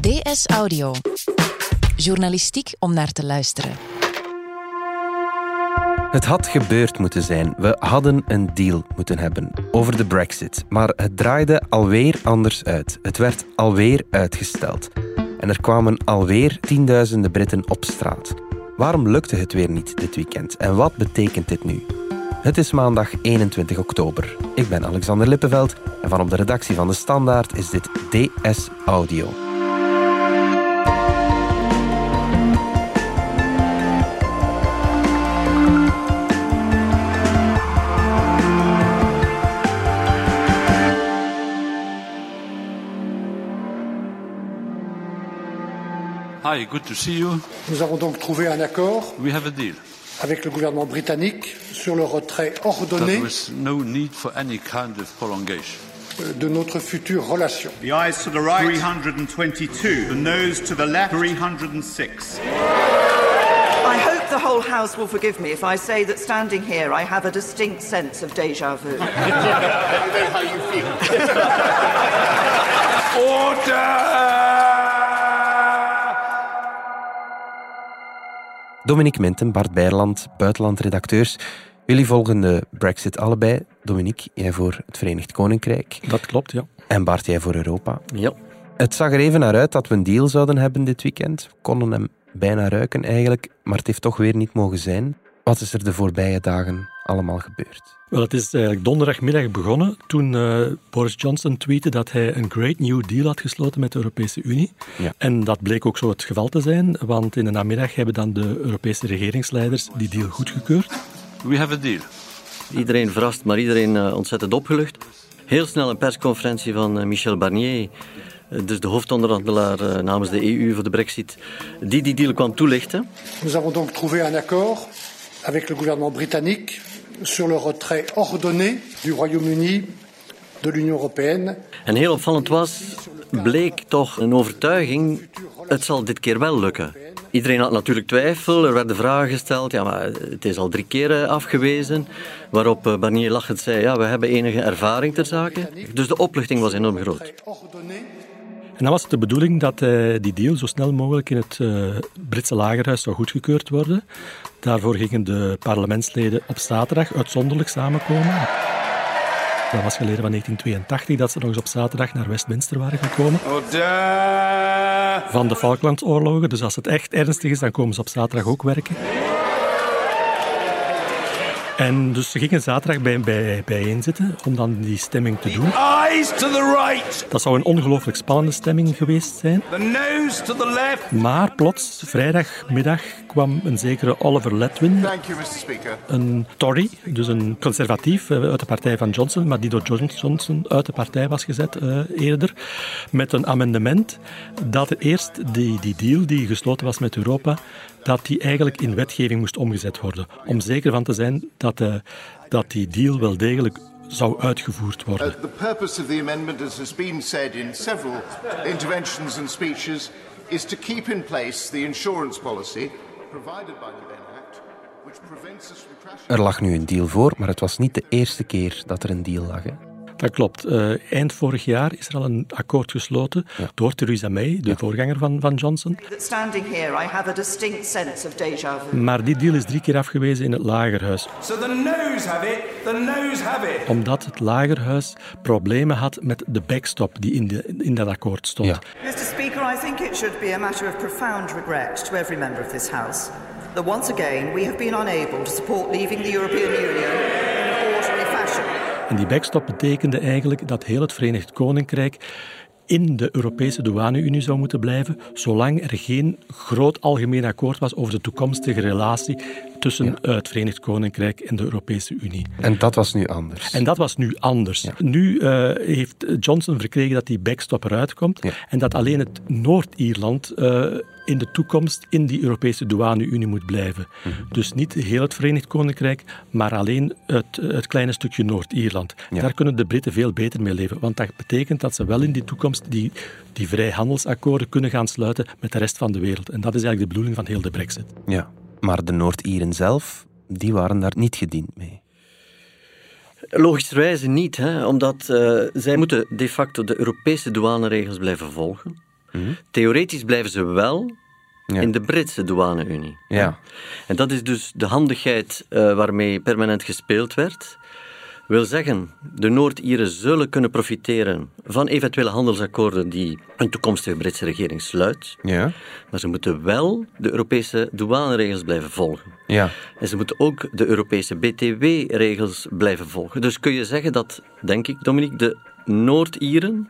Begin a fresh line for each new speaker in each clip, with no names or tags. DS Audio. Journalistiek om naar te luisteren.
Het had gebeurd moeten zijn. We hadden een deal moeten hebben over de Brexit. Maar het draaide alweer anders uit. Het werd alweer uitgesteld. En er kwamen alweer tienduizenden Britten op straat. Waarom lukte het weer niet dit weekend? En wat betekent dit nu? Het is maandag 21 oktober. Ik ben Alexander Lippenveld en van op de redactie van De Standaard is dit DS Audio.
Hi, good to see you.
Nous avons donc trouvé un accord
We have a deal.
avec le gouvernement britannique sur le retrait ordonné
There was no need for any kind of prolongation.
euh, de notre future relation.
The eyes to the right, 322. The nose to the left, 306.
I hope the whole House will forgive me if I say that standing here I have a distinct sense of deja vu.
Dominique Minten, Bart Beierland, buitenlandredacteurs. Jullie volgen de Brexit allebei. Dominique, jij voor het Verenigd Koninkrijk.
Dat klopt, ja.
En Bart, jij voor Europa.
ja.
Het zag er even naar uit dat we een deal zouden hebben dit weekend. We konden hem bijna ruiken eigenlijk, maar het heeft toch weer niet mogen zijn. Wat is er de voorbije dagen allemaal gebeurd?
Wel, het is eigenlijk donderdagmiddag begonnen toen eh, Boris Johnson tweette dat hij een Great New Deal had gesloten met de Europese Unie.
Ja.
En dat bleek ook zo het geval te zijn, want in de namiddag hebben dan de Europese regeringsleiders die deal goedgekeurd.
We have a deal.
Iedereen verrast, maar iedereen eh, ontzettend opgelucht. Heel snel een persconferentie van eh, Michel Barnier, eh, dus de hoofdonderhandelaar eh, namens de EU voor de brexit, die die deal kwam toelichten.
Nous avons donc trouvé un accord avec le gouvernement britannique sur le retrait ordonné du Royaume-Uni de l'Union européenne.
En heel opvallend was, bleek toch een overtuiging, het zal dit keer wel lukken. Iedereen had natuurlijk twijfel, er werden vragen gesteld, ja maar het is al drie keer eh, afgewezen. Waarop eh, Barnier lachend zei, ja we hebben enige ervaring ter zake. Dus de opluchting was enorm groot.
Ordonné
En dan was het de bedoeling dat eh, die deal zo snel mogelijk in het eh, Britse lagerhuis zou goedgekeurd worden. Daarvoor gingen de parlementsleden op zaterdag uitzonderlijk samenkomen. Dat was geleden van 1982 dat ze nog eens op zaterdag naar Westminster waren gekomen. Van de Falklandoorlogen, dus als het echt ernstig is, dan komen ze op zaterdag ook werken. En dus ze gingen zaterdag bij, bij, bijeen zitten om dan die stemming te doen.
Eyes to the right,
Dat zou een ongelooflijk spannende stemming geweest zijn.
the nose to the left.
Maar plots, vrijdagmiddag, kwam een zekere Oliver Letwin,
Thank you, Mr. Speaker.
een Tory, dus een conservatief eh, uit de partij van Johnson, maar die door John- Johnson uit de partij was gezet eh, eerder, met een amendement dat eerst die, die deal die gesloten was met Europa, dat die eigenlijk in wetgeving moest omgezet worden. Om zeker van te zijn dat, eh, dat die deal wel degelijk zou uitgevoerd worden.
The purpose of the amendment, as has been said in several interventions and speeches, is to keep in place the insurance policy provided by the Then Act, which prevents us from crashing.
Er lag nu een deal voor, maar het was niet de eerste keer dat er een deal lag. Hè?
Dat klopt. Eh, eind vorig jaar is er al een akkoord gesloten door Theresa May, de voorganger van, van Johnson.
that standing here I have a distinct sense of deja vu.
Maar die deal is drie keer afgewezen in het Lagerhuis,
So the nose have it, the nose have it.
omdat het Lagerhuis problemen had met de backstop die in, de, in dat akkoord stond.
Ja.
Mr. Speaker, I think it should be a matter of profound regret to every member of this House that once again we have been unable to support leaving the European Union in an orderly fashion.
En die backstop betekende eigenlijk dat heel het Verenigd Koninkrijk in de Europese douane-Unie zou moeten blijven, zolang er geen groot algemeen akkoord was over de toekomstige relatie tussen eh, het Verenigd Koninkrijk en de Europese Unie.
En dat was nu anders.
En dat was nu anders. Nu eh, heeft Johnson verkregen dat die backstop eruit komt
Ja.
en dat alleen het Noord-Ierland eh, in de toekomst in die Europese douane-Unie moet blijven.
Mhm.
Dus niet heel het Verenigd Koninkrijk, maar alleen het, het kleine stukje Noord-Ierland.
Ja.
Daar kunnen de Britten veel beter mee leven, want dat betekent dat ze wel in die toekomst die, die vrijhandelsakkoorden kunnen gaan sluiten met de rest van de wereld. En dat is eigenlijk de bedoeling van heel de brexit.
Ja. Maar de Noord-Ieren zelf, die waren daar niet gediend mee.
Logischerwijze niet, hè? omdat eh, zij moeten de facto de Europese douaneregels blijven volgen. Theoretisch blijven ze wel
Mhm. Ja.
in de Britse douane-unie.
Ja.
En dat is dus de handigheid eh, waarmee permanent gespeeld werd. Wil zeggen, de Noord-Ieren zullen kunnen profiteren van eventuele handelsakkoorden die een toekomstige Britse regering sluit.
Ja.
Maar ze moeten wel de Europese douaneregels blijven volgen.
Ja.
En ze moeten ook de Europese BTW-regels blijven volgen. Dus kun je zeggen dat, denk ik, Dominique, de Noord-Ieren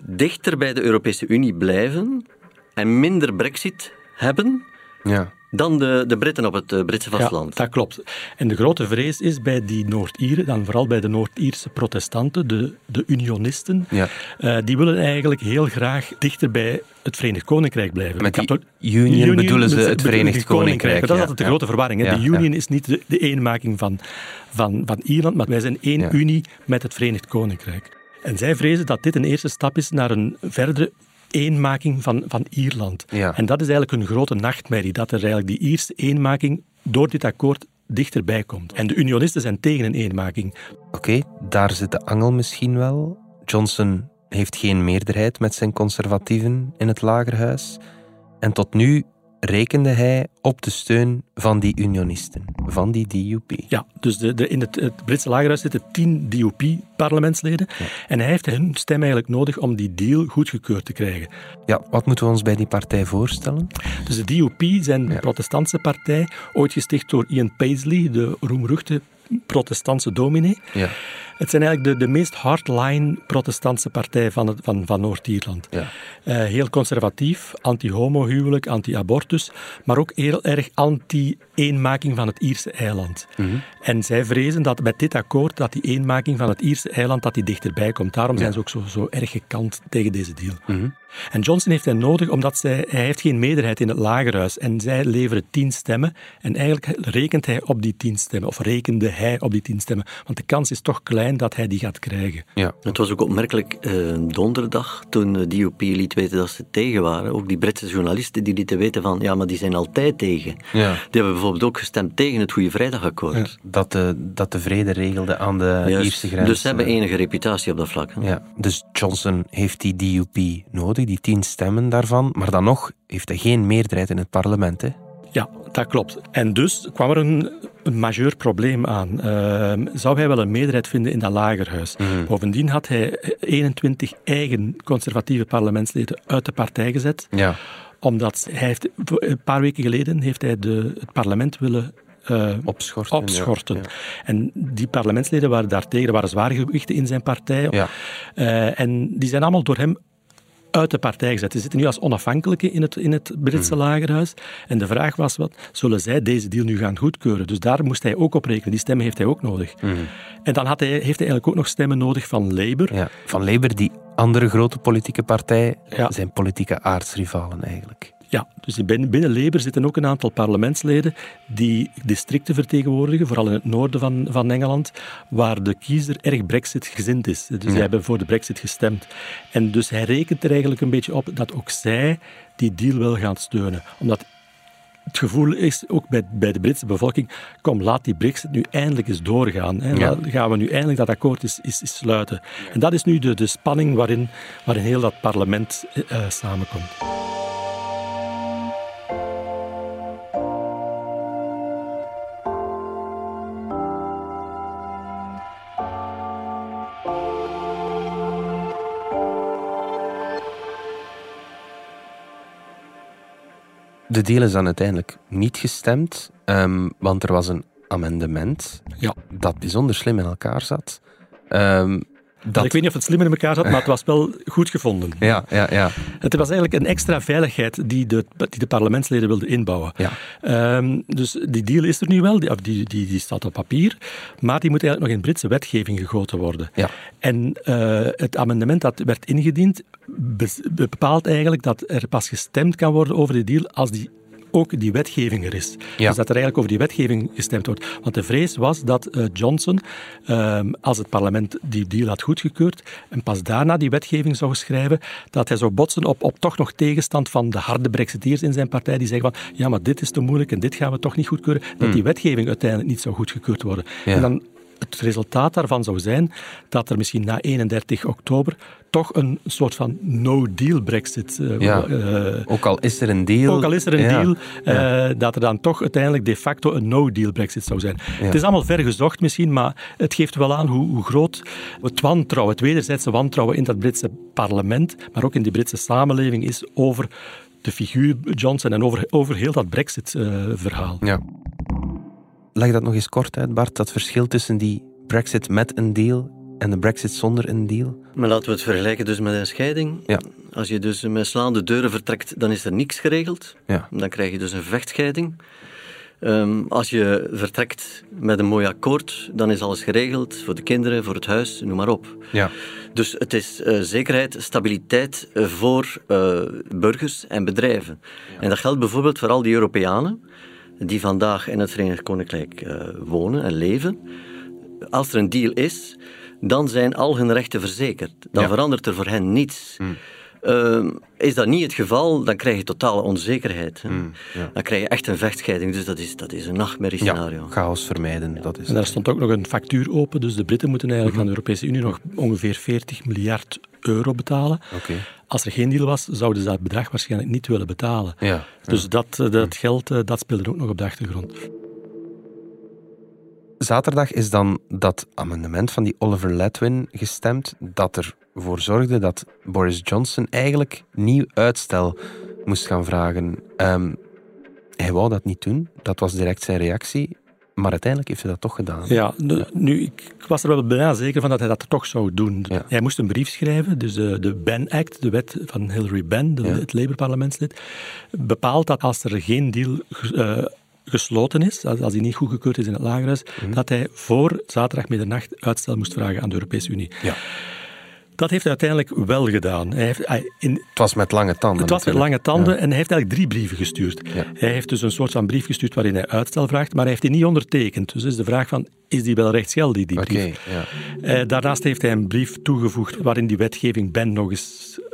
dichter bij de Europese Unie blijven en minder brexit hebben
Ja.
dan de, de Britten op het eh, Britse
Ja,
vasteland.
dat klopt. En de grote vrees is bij die Noord-Ieren, dan vooral bij de Noord-Ierse protestanten, de, de unionisten,
Ja.
eh, die willen eigenlijk heel graag dichter bij het Verenigd Koninkrijk blijven.
Met die
Kathol-
union bedoelen ze
met-
het
bedoelen
Verenigd Koninkrijk,
Dat is
ja,
altijd de
ja.
grote verwarring. hè.
Ja,
de union
ja.
is niet de, de eenmaking van, van, van Ierland, maar wij zijn één
Ja.
unie met het Verenigd Koninkrijk. En zij vrezen dat dit een eerste stap is naar een verdere eenmaking van, van Ierland.
Ja.
En dat is eigenlijk een grote nachtmerrie, dat er eigenlijk die Ierse eenmaking door dit akkoord dichterbij komt. En de unionisten zijn tegen een eenmaking.
Oké, daar zit de angel misschien wel. Johnson heeft geen meerderheid met zijn conservatieven in het lagerhuis. En tot nu rekende hij op de steun van die unionisten, van die DUP.
Ja, dus de, de, in het, het Britse lagerhuis zitten tien DUP-parlementsleden. En hij heeft hun stem eigenlijk nodig om die deal goedgekeurd te krijgen.
Ja, wat moeten we ons bij die partij voorstellen?
Dus de DUP zijn de protestantse partij, ooit gesticht door Ian Paisley, de roemruchte protestantse dominee.
Ja.
Het zijn eigenlijk de, de meest hardline protestantse partij van, het- van, van Noord-Ierland.
Ja.
Eh, heel conservatief, anti-homohuwelijk, anti-abortus, maar ook heel erg anti-eenmaking van het Ierse eiland. En zij vrezen dat met dit akkoord dat die eenmaking van het Ierse eiland dat die dichterbij komt. Daarom zijn ze ook zo, zo erg gekant tegen deze deal. En Johnson heeft hen nodig omdat zij, hij heeft geen meerderheid in het lagerhuis. En zij leveren tien stemmen. En eigenlijk rekent hij op die tien stemmen. Of rekende hij op die tien stemmen. Want de kans is toch klein dat hij die gaat krijgen.
Ja.
Het was ook opmerkelijk eh, donderdag toen eh, de DUP liet weten dat ze tegen waren. Ook die Britse journalisten die lieten weten van ja, maar die zijn altijd tegen.
Ja.
Die hebben bijvoorbeeld ook gestemd tegen het Goede Vrijdagakkoord.
Dat de, dat de vrede regelde aan de
Juist.
Ierse grens. eh,
Dus ze hebben enige reputatie op dat vlak. hè.
Ja, dus Johnson heeft die DUP nodig, die tien stemmen daarvan. Maar dan nog heeft hij geen meerderheid in het parlement. Hè?
Ja, dat klopt. En dus kwam er een, een majeur probleem aan. Ehm, zou hij wel een meerderheid vinden in dat lagerhuis?
Mhm.
Bovendien had hij 21 eigen conservatieve parlementsleden uit de partij gezet.
Ja.
Omdat hij heeft, een paar weken geleden heeft hij de, het parlement willen eh,
Opschorten, ja.
opschorten.
Ja.
En die parlementsleden waren daartegen, er waren zware gewichten in zijn partij.
Ja.
Eh, en die zijn allemaal door hem uit de partij gezet. Ze zitten nu als onafhankelijke in het, in het Britse lagerhuis. En de vraag was, wat, zullen zij deze deal nu gaan goedkeuren? Dus daar moest hij ook op rekenen. Die stemmen heeft hij ook nodig. En dan had hij, heeft hij eigenlijk ook nog stemmen nodig van Labour.
Ja. Van Labour, die andere grote politieke partij,
Ja.
zijn politieke aardsrivalen eigenlijk.
Ja, dus binnen, binnen Labour zitten ook een aantal parlementsleden die districten vertegenwoordigen, vooral in het noorden van, van Engeland, waar de kiezer erg brexit-gezind is. Dus zij hebben voor de brexit gestemd. En dus hij rekent er eigenlijk een beetje op dat ook zij die deal wel gaan steunen. Omdat het gevoel is, ook bij, bij de Britse bevolking, kom, laat die brexit nu eindelijk eens doorgaan. Hè.
Ja.
Laat- Gaan we nu eindelijk dat akkoord eens, eens, eens sluiten. En dat is nu de, de spanning waarin, waarin heel dat parlement eh, eh, samenkomt.
De deal is dan uiteindelijk niet gestemd, ehm, want er was een amendement
Ja.
dat bijzonder slim in elkaar zat. Ehm, dat...
Ik weet niet of het slimmer in elkaar zat, maar het was wel goed gevonden.
Ja, ja, ja.
Het was eigenlijk een extra veiligheid die de, die de parlementsleden wilden inbouwen.
Ja.
Ehm, dus die deal is er nu wel, die, of die, die, die staat op papier, maar die moet eigenlijk nog in Britse wetgeving gegoten worden.
Ja.
En eh, het amendement dat werd ingediend be- bepaalt eigenlijk dat er pas gestemd kan worden over die deal als die ook die wetgeving er is.
Ja.
Dus dat er eigenlijk over die wetgeving gestemd wordt. Want de vrees was dat eh, Johnson, ehm, als het parlement die deal had goedgekeurd en pas daarna die wetgeving zou schrijven, dat hij zou botsen op, op toch nog tegenstand van de harde brexiteers in zijn partij, die zeggen van ja, maar dit is te moeilijk en dit gaan we toch niet goedkeuren, dat die wetgeving uiteindelijk niet zou goedgekeurd worden.
Ja.
En dan het resultaat daarvan zou zijn dat er misschien na 31 oktober toch een soort van no-deal brexit... eh,
Ja.
eh,
Ook al is er een deal.
ook al is er een
Ja.
deal, eh, dat er dan toch uiteindelijk de facto een no-deal brexit zou zijn.
Ja.
Het is allemaal ver gezocht misschien, maar het geeft wel aan hoe, hoe groot het wantrouwen, het wederzijdse wantrouwen in dat Britse parlement, maar ook in die Britse samenleving is over de figuur Johnson en over, over heel dat eh, brexit-verhaal.
Ja. Leg dat nog eens kort uit, Bart. Dat verschil tussen die Brexit met een deal en de Brexit zonder een deal.
Maar laten we het vergelijken dus met een scheiding.
Ja.
Als je dus met slaande deuren vertrekt, dan is er niks geregeld.
Ja.
Dan krijg je dus een vechtscheiding. Ehm, als je vertrekt met een mooi akkoord, dan is alles geregeld voor de kinderen, voor het huis, noem maar op.
Ja.
Dus het is eh, zekerheid, stabiliteit eh, voor eh, burgers en bedrijven. En dat geldt bijvoorbeeld voor al die Europeanen die vandaag in het Verenigd Koninkrijk eh, wonen en leven. Als er een deal is, dan zijn al hun rechten verzekerd. Dan
Ja.
verandert er voor hen niets. Ehm, is dat niet het geval, dan krijg je totale onzekerheid. hè. Dan krijg je echt een vechtscheiding. Dus dat is, dat is een nachtmerrie scenario.
chaos vermijden. Dat is
En daar stond ook nog een factuur open, dus de Britten moeten eigenlijk aan
Mhm.
de Europese Unie nog ongeveer 40 miljard euro betalen.
Oké.
Als er geen deal was, zouden ze dat bedrag waarschijnlijk niet willen betalen.
Ja,
Dus Dat, eh, dat geld eh, dat speelde ook nog op de achtergrond.
Zaterdag is dan dat amendement van die Oliver Letwin gestemd dat ervoor zorgde dat Boris Johnson eigenlijk nieuw uitstel moest gaan vragen. Ehm, hij wou dat niet doen, dat was direct zijn reactie, maar uiteindelijk heeft hij dat toch gedaan.
Ja, nu, nu, ik, ik was er wel bijna zeker van dat hij dat toch zou doen.
Ja.
Hij moest een brief schrijven, dus de, de Ben Act, de wet van Hillary Benn, de-
Ja.
het Labour-parlementslid, bepaalt dat als er geen deal ge- eh, gesloten is, als, als die niet goedgekeurd is in het Lagerhuis,
Mhm.
dat hij voor zaterdag middernacht uitstel moest vragen aan de Europese Unie.
Ja.
Dat heeft hij uiteindelijk wel gedaan. Hij heeft, hij- in,
Het was met lange tanden.
het was met lange
natuurlijk.
tanden en hij heeft eigenlijk drie brieven gestuurd.
Ja.
Hij heeft dus een soort van brief gestuurd waarin hij uitstel vraagt, maar hij heeft die niet ondertekend. Dus is de vraag van, is die wel rechtsgeldig, die
Oké,
brief?
ja.
Eh, daarnaast heeft hij een brief toegevoegd waarin die wetgeving Ben nog eens... eh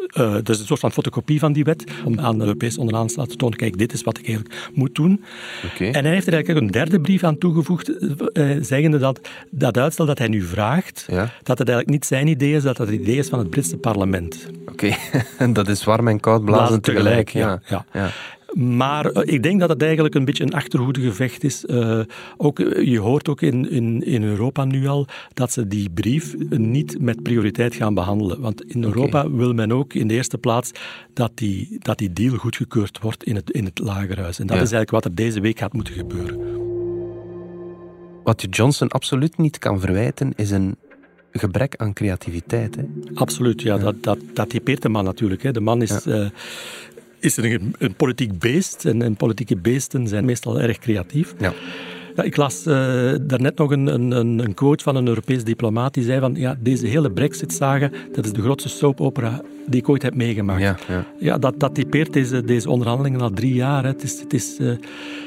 dus een soort van fotocopie van die wet, om aan de Europese onderhandelaars te laten tonen, kijk, dit is wat ik eigenlijk moet doen.
Oké.
En hij heeft er eigenlijk ook een derde brief aan toegevoegd, eh, eh, zeggende dat dat uitstel dat hij nu vraagt,
Ja.
dat het eigenlijk niet zijn idee is, dat het idee is van het Britse parlement.
Oké, en dat is warm en koud blazen, tegelijk.
ja. ja. Maar eh, ik denk dat het eigenlijk een beetje een achterhoedegevecht is. Eh, ook, eh, je hoort ook in, in, in Europa nu al dat ze die brief niet met prioriteit gaan behandelen. Want in Europa wil men ook in de eerste plaats dat die, dat die deal goedgekeurd wordt in het, in het lagerhuis. En dat
Ja.
is eigenlijk wat er deze week gaat moeten gebeuren.
Wat je Johnson absoluut niet kan verwijten, is een gebrek aan creativiteit. Hè?
Absoluut, ja, Dat, dat, dat typeert de man natuurlijk. Hè. De man is... eh, is een, een politiek beest en, en politieke beesten zijn meestal erg creatief.
Ja.
Ja, ik las eh, daarnet nog een, een, een een quote van een Europees diplomaat die zei van ja, deze hele Brexit-saga, dat is de grootste soapopera die ik ooit heb meegemaakt.
Ja, ja.
dat, dat typeert deze, deze onderhandelingen al drie jaar. Hè. Het, is, het, is, eh,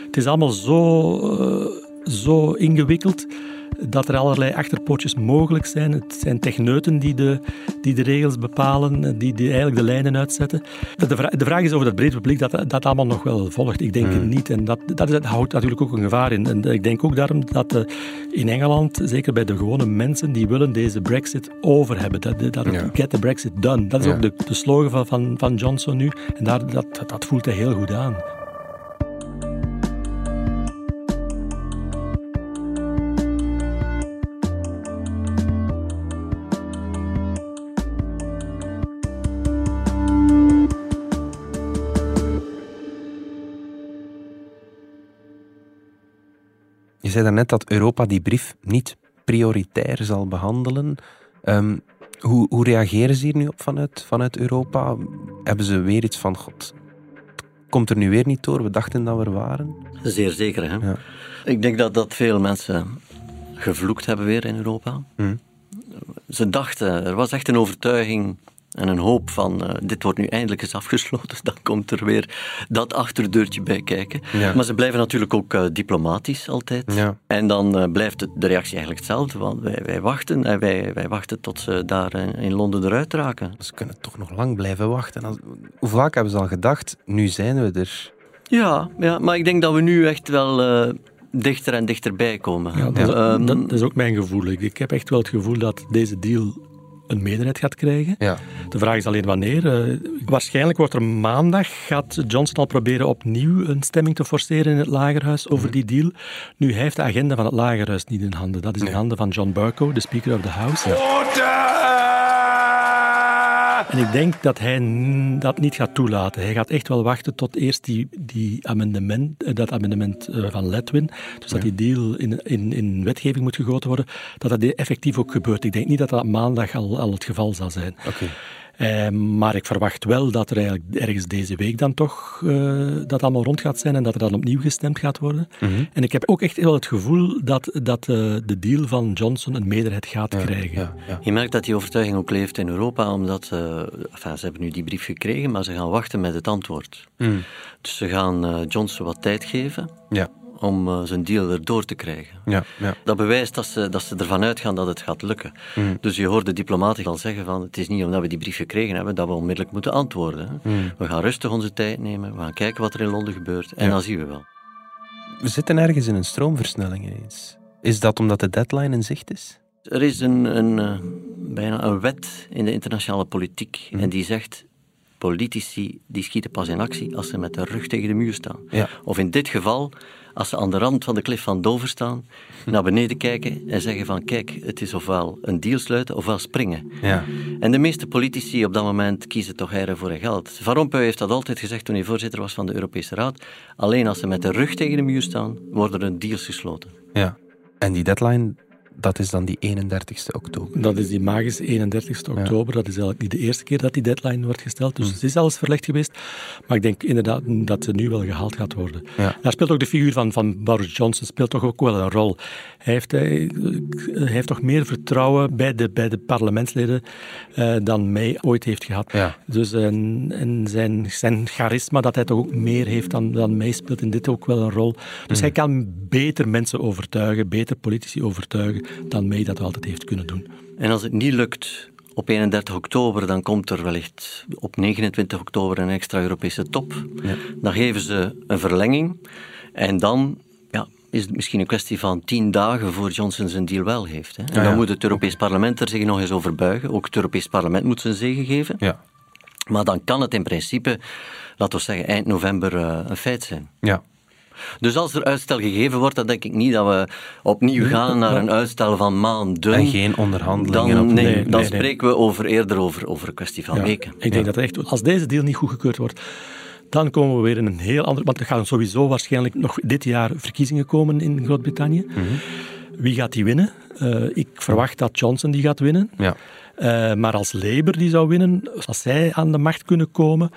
het is allemaal zo, eh, zo ingewikkeld dat er allerlei achterpootjes mogelijk zijn. Het zijn techneuten die de, die de regels bepalen, eh, die, die eigenlijk de lijnen uitzetten. De, vra- de vraag is over dat breed publiek dat dat allemaal nog wel volgt. Ik denk het niet. En dat, dat, is- dat houdt natuurlijk ook een gevaar in. En ik denk ook daarom dat eh, in Engeland, zeker bij de gewone mensen, die willen deze brexit over hebben. Dat, dat het
Ja.
get the brexit done. Dat is
Ja.
ook de, de slogan van, van, van Johnson nu. En daar, dat, dat voelt hij heel goed aan.
Je zei daarnet dat Europa die brief niet prioritair zal behandelen. Ehm, hoe, hoe reageren ze hier nu op vanuit, vanuit Europa? Hebben ze weer iets van, god, het komt er nu weer niet door, we dachten dat we er waren?
Zeer zeker, hè?
Ja.
Ik denk dat, dat veel mensen gevloekt hebben weer in Europa.
Hmm.
Ze dachten, er was echt een overtuiging en een hoop van eh, dit wordt nu eindelijk eens afgesloten, dan komt er weer dat achterdeurtje bij kijken.
Ja.
Maar ze blijven natuurlijk ook eh, diplomatisch altijd.
Ja.
En dan eh, blijft het- de reactie eigenlijk hetzelfde, want wij, wij wachten en wij, wij wachten tot ze daar eh, in Londen eruit raken.
Ze kunnen toch nog lang blijven wachten. Als- Hoe vaak hebben ze al gedacht, nu zijn we er?
Ja, ja, maar ik denk dat we nu echt wel eh, dichter en dichterbij komen.
Ja, dat,
Ehm,
dat- dat is ook mijn gevoel. Ik, ik heb echt wel het gevoel dat deze deal een meerderheid gaat krijgen.
Ja.
De vraag is alleen wanneer. Eh, waarschijnlijk wordt er maandag, gaat Johnson al proberen opnieuw een stemming te forceren in het lagerhuis
Mhm.
over die deal. Nu, hij heeft de agenda van het lagerhuis niet in handen. Dat is in handen van John Burko, de Speaker of the House. En ik denk dat hij n- dat niet gaat toelaten. Hij gaat echt wel wachten tot eerst die, die amendement, eh, dat amendement eh, van Letwin, dus dat die deal in, in, in wetgeving moet gegoten worden, dat dat effectief ook gebeurt. Ik denk niet dat dat maandag al, al het geval zal zijn. Eh, maar ik verwacht wel dat er eigenlijk ergens deze week dan toch eh, dat allemaal rond gaat zijn en dat er dan opnieuw gestemd gaat worden. En ik heb ook echt wel het gevoel dat, dat eh, de deal van Johnson een meerderheid gaat krijgen.
Je merkt dat die overtuiging ook leeft in Europa, omdat eh, enfin, ze hebben nu die brief gekregen, maar ze gaan wachten met het antwoord. Dus ze gaan eh, Johnson wat tijd geven
Ja.
om eh, zijn deal erdoor te krijgen.
Ja, ja.
Dat bewijst dat ze, dat ze ervan uitgaan dat het gaat lukken. Dus je hoort de diplomaten al zeggen van het is niet omdat we die brief gekregen hebben dat we onmiddellijk moeten antwoorden. hè. We gaan rustig onze tijd nemen, we gaan kijken wat er in Londen gebeurt en
Ja.
dan zien we wel.
We zitten ergens in een stroomversnelling ineens. Is dat omdat de deadline in zicht is?
Er is een, een, eh, bijna een wet in de internationale politiek
Mhm.
en die zegt politici die schieten pas in actie als ze met de rug tegen de muur staan.
Ja.
Of in dit geval als ze aan de rand van de klif van Dover staan,
Mhm.
naar beneden kijken en zeggen van kijk, het is ofwel een deal sluiten ofwel springen.
Ja.
En de meeste politici op dat moment kiezen toch eieren voor hun geld. Van Rompuy heeft dat altijd gezegd toen hij voorzitter was van de Europese Raad. Alleen als ze met de rug tegen de muur staan, worden er deals gesloten.
Ja. En die deadline, dat is dan die 31ste oktober.
Dat is die magische 31 oktober. Dat is eigenlijk niet de eerste keer dat die deadline wordt gesteld.
Hm.
Dus het is al eens verlegd geweest. Maar ik denk inderdaad dat ze nu wel gehaald gaat worden.
Ja.
Daar speelt ook de figuur van, van Boris Johnson speelt toch ook wel een rol. Hij heeft, hij, hij heeft toch meer vertrouwen bij de, bij de parlementsleden eh, dan May ooit heeft gehad.
Ja.
Dus en, en zijn, zijn charisma, dat hij toch ook meer heeft dan, dan mij, speelt in dit ook wel een rol.
Hm.
Dus hij kan beter mensen overtuigen, beter politici overtuigen dan mij dat altijd heeft kunnen doen.
En als het niet lukt op 31 oktober, dan komt er wellicht op 29 oktober een extra Europese top. Dan geven ze een verlenging. En dan ja, is het misschien een kwestie van tien dagen voor Johnson zijn deal wel heeft. Hè. En dan
ja.
moet het Europees Parlement er zich nog eens over buigen. Ook het Europees Parlement moet zijn zegen geven.
Ja.
Maar dan kan het in principe, laten we zeggen, eind november eh, een feit zijn.
Ja.
Dus als er uitstel gegeven wordt, dan denk ik niet dat we opnieuw gaan naar een uitstel van maanden.
En geen onderhandelingen
Dan,
opnieuw.
nee,
Nee,
dan
nee, nee.
spreken we over, eerder over, over een kwestie van weken.
Ik denk dat echt, als deze deal niet goedgekeurd wordt, dan komen we weer in een heel ander. Want er gaan sowieso waarschijnlijk nog dit jaar verkiezingen komen in Groot-Brittannië.
Mhm.
Wie gaat die winnen? Eh, ik verwacht dat Johnson die gaat winnen.
Ja.
Eh, maar als Labour die zou winnen, als zij aan de macht kunnen komen,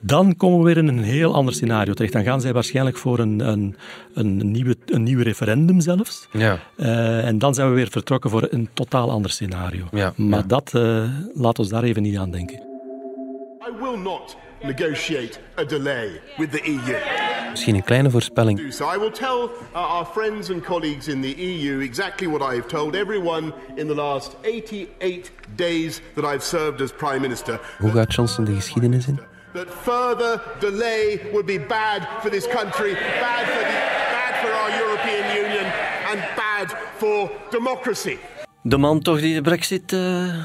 dan komen we weer in een heel ander scenario terecht. Dan gaan zij waarschijnlijk voor een, een, een, nieuwe, een nieuw referendum zelfs.
Ja.
Eh, en dan zijn we weer vertrokken voor een totaal ander scenario.
Ja,
maar
ja.
dat, eh laat ons daar even niet aan denken.
I will not negotiate a delay with the EU.
Misschien een kleine voorspelling.
do so. I will tell uh, our friends and colleagues in the EU exactly what I have told everyone in the last 88 days that I've served as Prime Minister.
Hoe gaat Johnson de geschiedenis in?
That further delay would be bad for this country, bad for, the, bad for our European Union, and bad for democracy.
De man toch die de brexit eh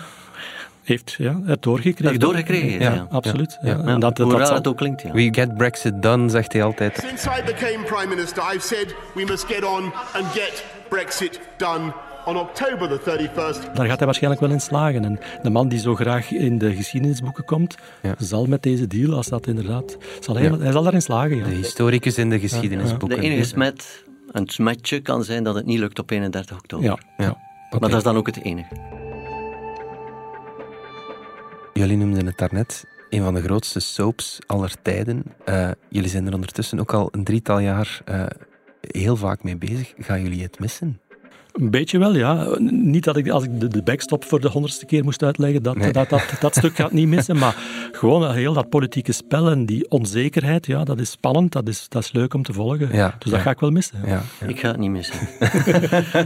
Heeft ja, het doorgekregen.
heeft doorgekregen. heeft, Ja,
Absoluut. Ja.
Ja.
En
Ja,
dat,
hoe
dat
raar
zal-
het ook klinkt. Ja.
We get Brexit done, zegt hij altijd.
Since I became Prime Minister, I've said we must get on and get Brexit done on October the 31st.
Daar gaat hij waarschijnlijk wel in slagen. En de man die zo graag in de geschiedenisboeken komt,
Ja.
zal met deze deal, als dat inderdaad... Zal hij,
Ja.
hij zal daarin slagen, ja.
De historicus in de geschiedenisboeken.
De enige smet, een smetje kan zijn dat het niet lukt op 31 oktober.
Ja,
Ja.
ja.
Maar dat is dan ook het enige.
Jullie noemden het daarnet een van de grootste soaps aller tijden. Eh, jullie zijn er ondertussen ook al een drietal jaar eh, heel vaak mee bezig. Gaan jullie het missen?
Een beetje wel, ja. Niet dat ik, als ik de, de backstop voor de honderdste keer moest uitleggen, dat, dat, dat, dat stuk gaat niet missen. Maar gewoon heel dat politieke spel en die onzekerheid, ja, dat is spannend, dat is, dat is leuk om te volgen.
Ja, ja.
dus dat ga ik wel missen. ja.
Ja.
Ik ga het niet missen.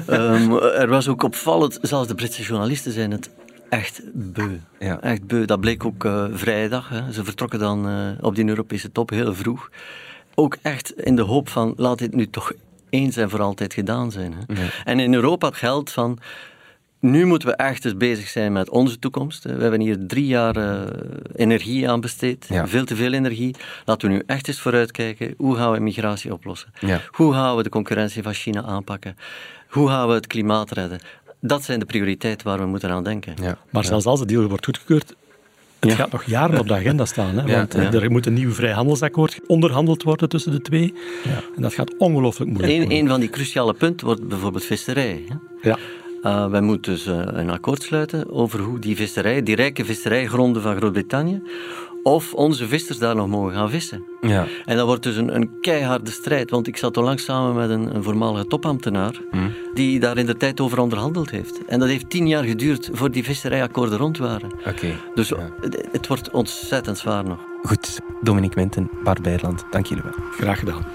Ehm, er was ook opvallend, zelfs de Britse journalisten zijn het echt beu.
Ja.
Echt beu. Dat bleek ook eh, vrijdag. Hè. Ze vertrokken dan eh, op die Europese top heel vroeg. Ook echt in de hoop van, laat dit nu toch eens en voor altijd gedaan zijn. Hè? Ja. En in Europa geldt van. Nu moeten we echt eens bezig zijn met onze toekomst. We hebben hier drie jaar uh, energie aan besteed. Ja. Veel te veel energie. Laten we nu echt eens vooruitkijken. Hoe gaan we migratie oplossen? Ja. Hoe gaan we de concurrentie van China aanpakken? Hoe gaan we het klimaat redden? Dat zijn de prioriteiten waar we moeten aan denken.
Maar zelfs als de deal wordt goedgekeurd, het ja. gaat nog jaren op de agenda staan. Hè? Want ja, ja. er moet een nieuw vrijhandelsakkoord onderhandeld worden tussen de twee. En dat gaat ongelooflijk moeilijk
Eén Een van die cruciale punten wordt bijvoorbeeld visserij. Hè? Ja. Uh, wij moeten dus uh, een akkoord sluiten over hoe die visserij, die rijke visserijgronden van Groot-Brittannië, of onze vissers daar nog mogen gaan vissen. Ja. En dat wordt dus een, een keiharde strijd, want ik zat onlangs samen met een, een voormalige topambtenaar mm. die daar in de tijd over onderhandeld heeft. En dat heeft tien jaar geduurd voor die visserijakkoorden rond waren.
Oké. Okay,
dus ja. het, het, wordt ontzettend zwaar nog.
Goed, Dominique Menten, Bart Beirland, dank jullie wel.
Graag gedaan.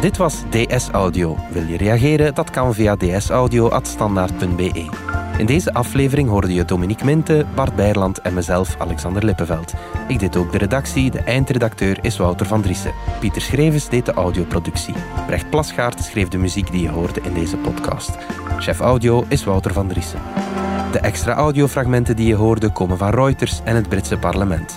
Dit was DS Audio. Wil je reageren? Dat kan via dsaudio.standaard.be. e. In deze aflevering hoorde je Dominique Minte, Bart Beirland en mezelf, Alexander Lippenveld. Ik deed ook de redactie, de eindredacteur is Wouter van Driessen. Pieter Schrevens deed de audioproductie. Brecht Plasgaard schreef de muziek die je hoorde in deze podcast. Chef audio is Wouter van Driessen. De extra audiofragmenten die je hoorde komen van Reuters en het Britse parlement.